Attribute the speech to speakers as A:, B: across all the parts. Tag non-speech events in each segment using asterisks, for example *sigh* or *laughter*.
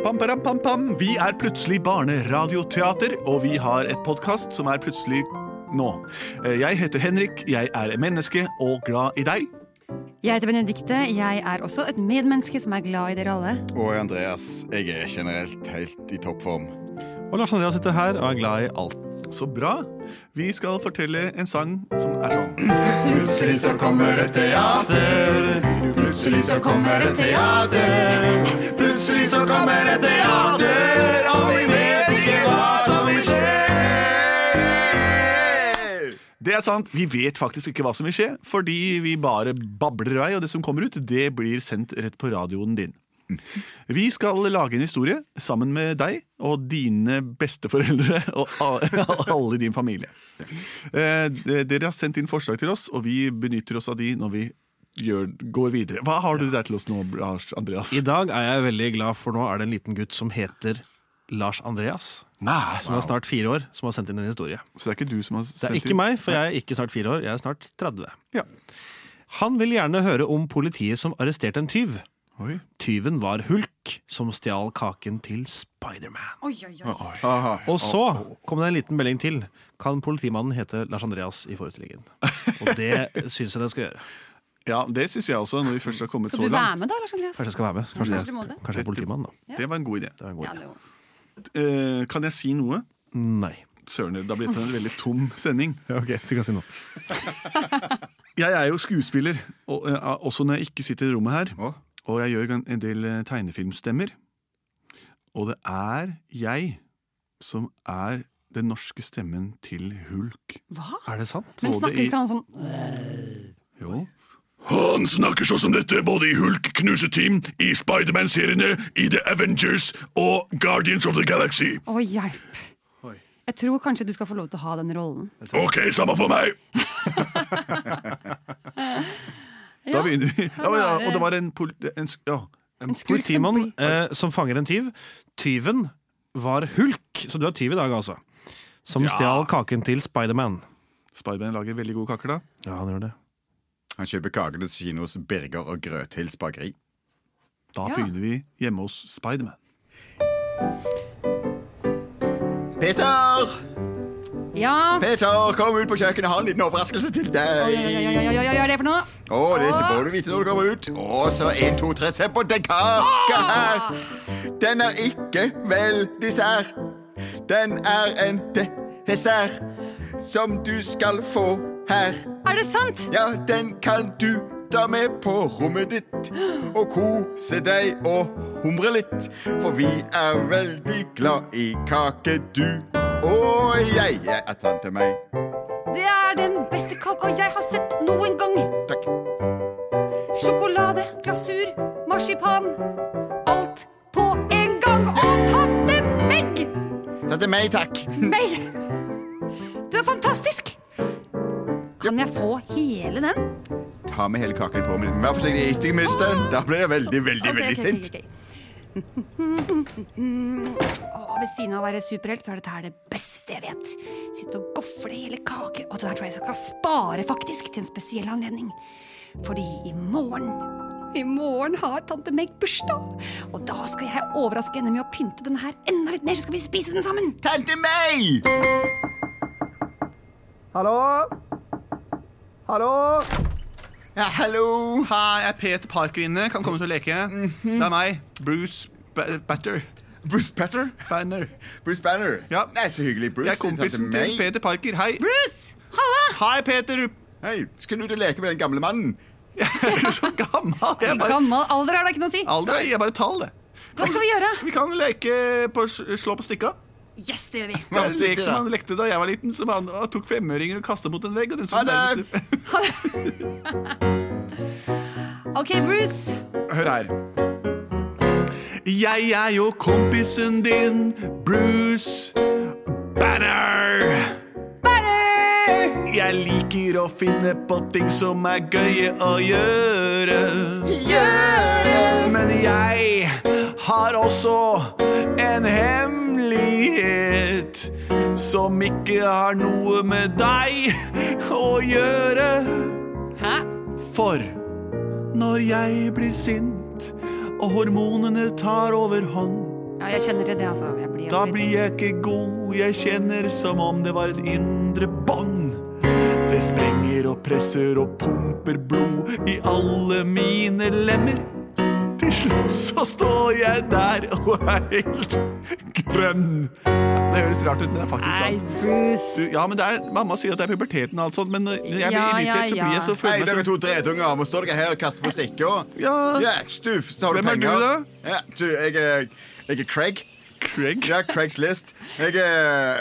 A: Pam, param, pam, pam. Vi er plutselig barneradioteater, og vi har et podkast som er plutselig nå. Eh, Jeg heter Henrik, jeg er menneske og glad i deg.
B: Jeg heter Benedikte. Jeg er også et medmenneske som er glad i dere alle.
C: Og Andreas, jeg er generelt helt i toppform.
D: Og Lars Andreas sitter her og er glad i alt.
A: Så bra. Vi skal fortelle en sang som er sånn.
C: Plutselig så kommer et teater. Plutselig så kommer et teater. Plutselig så kommer et teater, og vi vet ikke hva som vil skje.
A: Det er sant. Vi vet faktisk ikke hva som vil skje, fordi vi bare babler i vei, og det som kommer ut, det blir sendt rett på radioen din. Vi skal lage en historie sammen med deg og dine besteforeldre *laughs* og a- alle i din familie. Eh, d- Dere har sendt inn forslag til oss, og vi benytter oss av de når vi gjør, går videre. Hva har du der til oss nå, Lars Andreas?
D: I dag er jeg veldig glad, for nå er det en liten gutt som heter Lars Andreas.
A: Nei,
D: Som er snart fire år, som har sendt inn en historie.
A: Så det er ikke du som har
D: Det
A: sendt
D: er ikke meg, for jeg er ikke snart fire år, jeg er snart 30.
A: Ja.
D: Han vil gjerne høre om politiet som arresterte en tyv.
A: Oi.
D: Tyven var Hulk, som stjal kaken til Spiderman.
B: Oi, oi, oi.
C: Aha.
D: Og så kom det en liten melding til. Kan politimannen hete Lars Andreas i forestillingen? Og *laughs* det syns jeg den skal gjøre.
A: ja, det syns jeg også, når vi først har kommet
B: Skal
A: så
B: du være
A: langt.
B: med, da, Lars Andreas?
D: Kanskje jeg skal være med? Kanskje,
B: Ja, kanskje du må
D: jeg,
B: det.
D: kanskje jeg er politimann, da.
A: Det var en god idé.
D: Det var en
B: Ja,
D: god idé.
B: det er jo.
A: Eh, kan jeg si noe?
D: Nei.
A: Søren, det har blitt en veldig tom sending.
D: Ok, så kan jeg si noe.
A: Jeg er jo skuespiller, og, eh, også når jeg ikke sitter i rommet her.
C: Å,
A: Og jeg gjør en del eh, tegnefilmstemmer. Og det er jeg som er den norske stemmen til Hulk.
B: Hva?
D: Er det sant?
B: Men
A: Både
B: snakker
A: i-
B: ikke han sånn
A: Jo. Han snakker sånn som dette både i Hulk, Knuseteam, i Spiderman-seriene, i The Avengers og Guardians of the Galaxy.
B: Å, hjelp! Jeg tror kanskje du skal få lov til å ha den rollen.
A: Ok, samme for meg! Da begynner vi. Ja, men, ja, og det var en, pol en sk- ja.
D: En
B: skurk som
D: politimann eh, som fanger en tyv. Tyven var Hulk, så du er tyv i dag, altså. Som stjal kaken til Spiderman.
A: Spiderman lager veldig gode kaker, da.
D: Ja, han gjør det.
C: Han kjøper kakene til kinos Birger og Grøthils bakeri.
A: Da
B: Ja.
A: begynner vi hjemme hos Spiderman.
C: Peter!
B: Ja!
C: Peter, kom ut på kjøkkenet, har en liten overraskelse til
B: Oi, oi, oi, oi,
C: deg.
B: oi, oi, oi, hva er det for noe?
C: Å, det så får du vite når du kommer ut. Å, så en, to, tre, se på den kaka her. Den er ikke vel dessert. Den er en de- dessert som du skal få her.
B: Er det sant?
C: Ja, den kan du ta med på rommet ditt og kose deg og humre litt. For vi er veldig glad i kake, du og jeg. Jeg er tante meg.
B: Det er den beste kaka jeg har sett noen gang.
C: Takk.
B: Sjokolade, glasur, marsipan. Alt på en gang. Og tante Meg!
C: Tante meg, takk.
B: Meg! Du er fantastisk! Kan jeg få hele den?
C: Ta med hele kaken på min. Vær forsiktig, ikke mist den. Da blir jeg veldig, veldig,
B: Ok,
C: veldig
B: ok, ok,
C: sint.
B: ok. *laughs* Åh, ved siden av å være superhelt, så er dette her det beste jeg vet. Sitte og gofle i hele kaker. Og den her tror jeg jeg skal spare faktisk til en spesiell anledning. Fordi i morgen i morgen har tante Meg bursdag, og da skal jeg overraske henne med å pynte den her enda litt mer, så skal vi spise den sammen.
C: Tante meg!
E: Hallo? Hallo?
C: Ja, hallo.
A: Hei, jeg er Peter Parker inne. Kan komme ut og leke. Det er meg, Bruce ba Batter.
C: Bruce Banner?
A: Banner.
C: Bruce Banner.
A: Ja.
C: Nei, så hyggelig, Bruce.
A: Jeg er kompisen
C: Tante
A: til
C: May.
A: Peter Parker. Hei.
B: Bruce! Halla!
A: Hei, Peter.
C: Hei, skal du ut og leke med den gamle mannen?
A: Jeg er så gammel. Jeg er bare,
B: Gammel alder er da ikke noe å si.
A: alder er jeg er bare tall, det.
B: Hva skal vi gjøre?
A: Vi kan leke på s- slå på stikka.
B: Yes, det gjør vi.
A: Det er en
C: Hva
A: lek
C: er det,
A: som
C: da?
A: han lekte da jeg var liten, som han han tok femøringer og kastet mot en vegg. Og den
C: Ha
A: som
C: det.
A: nærmest-
B: Ok, Bruce.
A: Hør her. Jeg er jo kompisen din, Bruce Banner. Jeg liker å finne på ting som er gøye å gjøre. Men jeg har også en hemmelighet som ikke har noe med deg å gjøre.
B: Hæ?
A: For når jeg blir sint og hormonene tar overhånd
B: Ja, jeg kjenner til det, altså. Jeg blir
A: da
B: litt-
A: blir jeg ikke god, jeg kjenner som om det var et indre bånd. Det sprenger og presser og pumper blod i alle mine lemmer. Til slutt så står jeg der og er helt grønn. Det høres rart ut, men det er faktisk
B: sånn- Nei,
A: sant. Du,
B: Bruce.
A: Ja, men det er, Mamma sier at det er puberteten og alt sånt, men når jeg blir
B: Ja, ja,
A: irritert, så blir jeg
B: ja.
A: så
C: Hei,
A: føler jeg
C: dere
A: meg
C: to dretunger, må stå dere her og kaste på stikker.
A: Ja.
C: ja stuff, så har du
A: Hvem er
C: penger.
A: du da?
C: Ja, du, jeg er, jeg er Craig.
A: Craig?
C: Ja, Craigs List. Jeg er,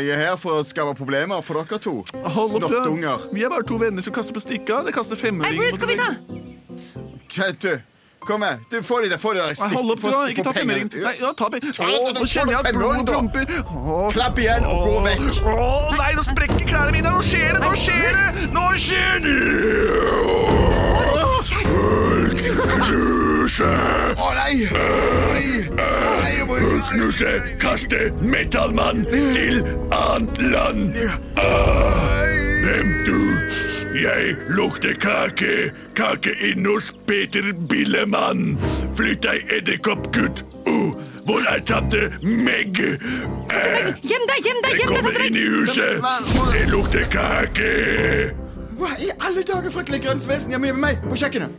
C: jeg er her for å skape problemer for dere to.
A: Hold opp, da.
C: Snottunger.
A: Vi er bare to venner som kaster på stikka. Det kaster
B: Hei,
A: femmerring.
B: Bruce, kom hit, da!
C: Kjæ- Du, kom her. Du, få de der, få de der
A: Nei,
C: stikk-
A: Hold opp,
C: få-
A: da.
C: få
A: Ikke ta
C: penger.
A: femmeringen. Nei, ja, ta pe-
C: Ta den,
A: Å, Nå kjenner jeg at
C: femmeren,
A: blodet
C: da.
A: promper. Å,
C: Klapp igjen og gå vekk.
A: Å nei, nå sprekker klærne mine! Nå skjer det! Nå skjer det! Nå skjer det! Knuse!
C: Å nei! Nei! Nei, jeg må
A: Knuse! Kaste metallmann til annet land! Ah, Hvem du? Jeg lukter kake. Kake inne hos Peter Billemann. Flytt deg, edderkoppgutt. Uh, hvor er tante Meg? Eh,
B: Gjem deg, gjem deg,
A: jeg
B: gjem deg!
A: kommer
B: tante
A: inn
B: Meg.
A: i huset. Det lukter kake.
C: Hva i alle dager fryktelig grønt vesen hjemme med meg på kjøkkenet?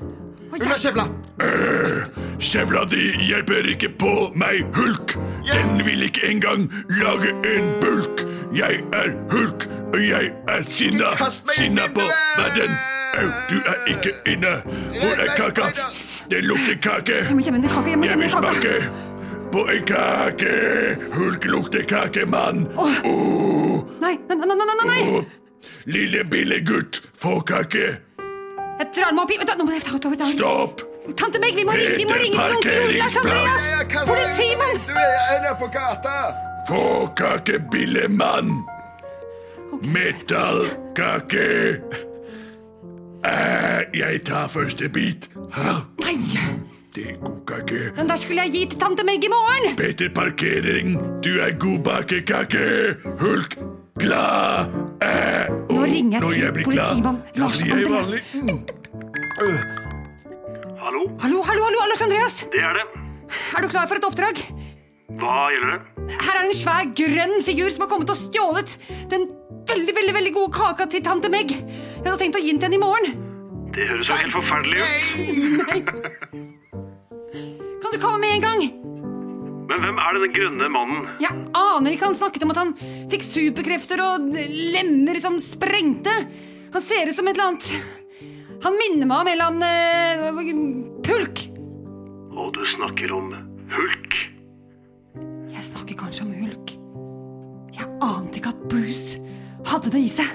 C: Under kjevla.
A: Kjevla di hjelper ikke på meg, Hulk. Den vil ikke engang lage en bulk. Jeg er Hulk, og jeg er sinna.
C: Kast meg ut
A: Sinna på
C: vinduet!
A: verden. Au, du er ikke inne. Hvor er kaka? Det lukter kake.
B: Jeg må gjemme den kaka, jeg må
A: Jeg
B: gjemme
A: vil
B: den kaka.
A: smake på en kake. Hulk lukter kake, mann. Oh,
B: Nei, nei, nei, nei, nei, nei!
A: oh. Lille billegutt, få kake.
B: Jeg drar meg opp i Vent da, Nå må jeg ta ta- ta- ta-
A: Stopp.
B: Tante Meg, vi må ringe vi må ringe til onkel Lars Andreas!
C: Ja, kast meg ut.
B: Politimann!
C: Du er inne på gata!
A: Få kake, billemann. Metallkake. Eh, jeg tar første bit. Her,
B: Nei!
A: det er god kake.
B: Den der skulle jeg gi til tante Meg i morgen!
A: Peter Parkering, du er god bakekake. Hulk, glad. Eh,
B: Nå
A: oh,
B: ringer jeg
A: når
B: til
A: blir glad,
B: politimann
A: da
B: Lars
A: blir jeg
B: Andreas.
A: vanlig. Mm.
F: Hallo,
B: Hallo, hallo, hallo, Lars Andreas!
F: det er det.
B: Er du klar for et oppdrag?
F: Hva gjelder det?
B: Her er en svær grønn figur som har kommet og stjålet den veldig veldig, veldig gode kaka til tante Meg. Jeg hadde tenkt å gi den til henne i morgen.
F: Det høres jo helt forferdelig ut.
B: Kan du komme med en gang?
F: Men hvem er denne grønne mannen?
B: Jeg aner ikke. Han snakket om at han fikk superkrefter og lemmer som sprengte. Han ser ut som et eller annet Han minner meg om en eller annen eh, pulk.
F: Og du snakker om hulk.
B: Jeg snakker kanskje om hulk. Jeg ante ikke at Bruce hadde det i seg.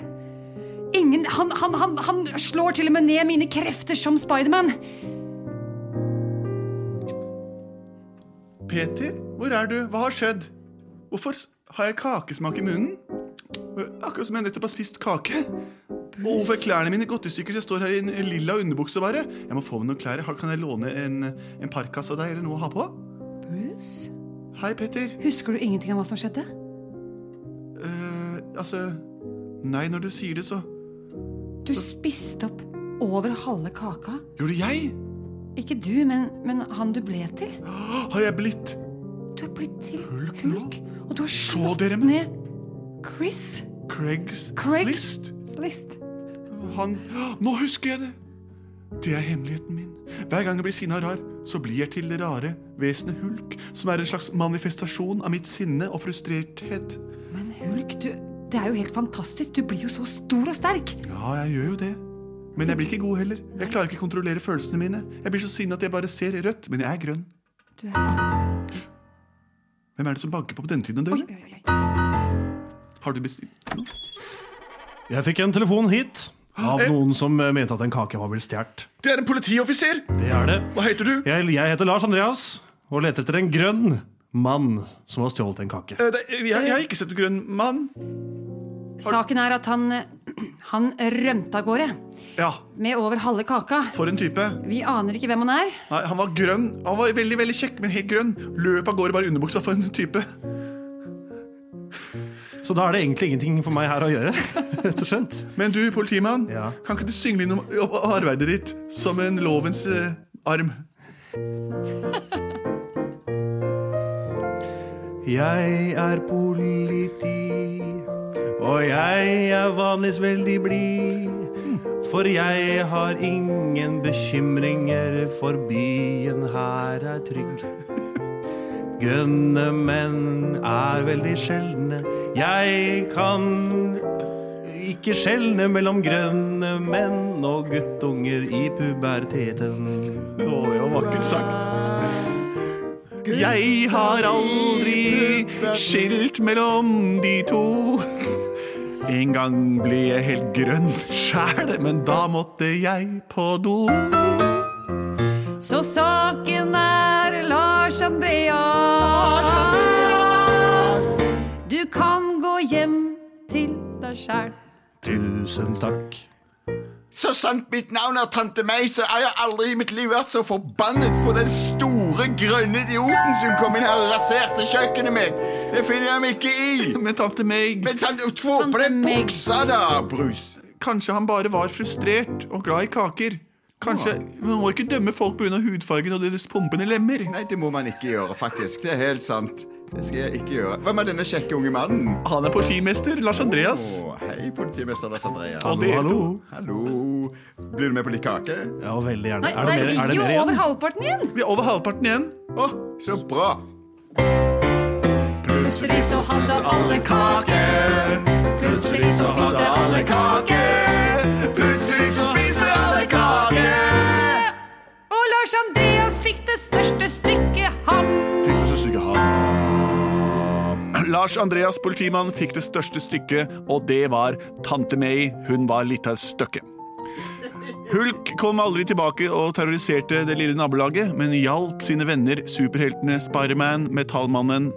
B: Ingen, han, han, han, han slår til og med ned mine krefter som Spiderman.
A: Peter, hvor er du? Hva har skjedd? Hvorfor s- har jeg kakesmak i munnen? Øh, Akkurat som jeg nettopp har spist kake. Og over klærne mine gått i stykker, så jeg står her i en lilla underbukse bare. Jeg må få meg noen klær. Har- Kan jeg låne en, en parkas av deg, eller noe å ha på?
B: Bruce?
A: Hei, Peter.
B: Husker du ingenting om hva som skjedde?
A: Eh, altså Nei, når du sier det, så
B: Du spiste opp over halve kaka.
A: Gjorde jeg?
B: Ikke du, men, men han du ble til.
A: Har jeg blitt
B: Du er blitt til
A: Hulk nå?
B: hulk, og du har
A: Så
B: slått
A: dere meg?
B: ned Chris
A: Craigs
B: Craig?
A: list?
B: List.
A: Han Nå husker jeg det! Det er hemmeligheten min. Hver gang jeg blir sinna og rar, så blir jeg til det rare vesenet Hulk, som er en slags manifestasjon av mitt sinne og frustrerthet.
B: Men hulk, du Det er jo helt fantastisk. Du blir jo så stor og sterk.
A: Ja, jeg gjør jo det. Men jeg blir ikke god heller. Jeg klarer ikke å kontrollere følelsene mine. Jeg blir så sinna at jeg bare ser rødt, men jeg er grønn.
B: Du
D: Ah,
B: er
A: Hvem er det som banker på på denne tiden av
B: Oi,
A: døgnet?
B: oi, oi, oi.
A: Har du bestilt noe?
D: Jeg fikk en telefon hit av noen som eh, mente at en kake var blitt stjålet.
A: Det er en politioffiser!
D: Det er det.
A: Hva heter du?
D: Jeg, jeg heter Lars Andreas, og lete etter en grønn mann som har stjålet en kake.
A: Eh, det- Jeg, jeg har ikke sett en grønn mann.
B: Saken er at han, han rømte av gårde
A: Ja,
B: med over halve kaka.
A: for en type.
B: Vi aner ikke hvem han er.
A: Nei, han var grønn. Han var veldig veldig kjekk, men helt grønn. Løp av gårde bare i underbuksa for en type.
F: Eh.
D: Så da er det egentlig ingenting for meg her å gjøre. *laughs* rett og slett.
A: Men du, politimann,
D: Ja.
A: kan ikke du synge inn om om arbeidet ditt som en lovens eh, arm?
D: Jeg er politi, og jeg er vanligvis veldig blid. For jeg har ingen bekymringer, for byen her er trygg. Grønne menn er veldig sjeldne. Jeg kan ikke skjelne mellom grønne menn og guttunger i puberteten.
A: Å, ja, vakkert sagt. Jeg har aldri skilt mellom de to. En gang ble jeg helt grønn sjæl, men da måtte jeg på do.
B: Så saken er Lars Andreas. Du kan gå hjem til deg sjæl.
D: Tusen takk.
C: Så sant mitt navn er tante meg, så har jeg aldri i mitt liv vært så forbannet på den store, grønne idioten som kom inn her og raserte kjøkkenet mitt. Det finner jeg meg ikke i.
A: Men tante Meg,
C: Men tante, få
B: Tante
C: på den
B: Meg.
C: buksa, da, Brus.
A: kanskje han bare var frustrert og glad i kaker. Kanskje, Man må ikke dømme folk pga. hudfargen og deres pumpende lemmer.
C: Nei, det må man ikke gjøre, faktisk. Det er helt sant. Det skal jeg ikke gjøre. Hvem er denne kjekke unge mannen?
A: Han er politimester Lars Andreas.
C: Å, hei, politimester Lars Andreas.
A: Og
D: Hallo,
A: dere
D: hallo.
C: Hallo. Blir du med på litt kake?
D: Ja, veldig gjerne.
B: Nei,
D: Er det
B: der
D: mer- er
B: ligger
D: det
B: jo
D: mer igjen?
B: over halvparten igjen.
A: Vi er over halvparten igjen.
C: Å, så bra.
B: Plutselig så hadde alle kake. Plutselig så spiste alle kake.
C: Plutselig så spiste alle kake.
B: Og Lars Andreas fikk det største stykket, han.
C: Fikk du så stygge hav?
A: *clears throat* Lars Andreas politimann fikk det største stykket, og det var tante May. Hun var litt av et støkke. Hulk kom aldri tilbake og terroriserte det lille nabolaget, men hjalp sine venner, superheltene Spiderman, Metallmannen,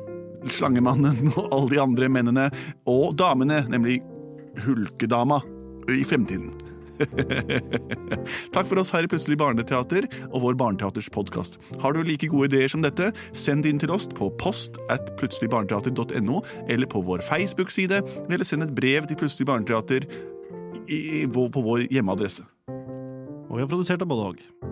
A: Slangemannen *laughs* og alle de andre mennene og damene, nemlig Hulkedama, i fremtiden. Takk for oss her i Plutselig barneteater og vår Barneteaters podkast. Har du like gode ideer som dette, send det inn til oss på post at plutseligbarneteater.no, eller på vår Facebook-side, eller send et brev til Plutselig barneteater i, i, på vår hjemmeadresse.
D: Og vi har produsert av både og.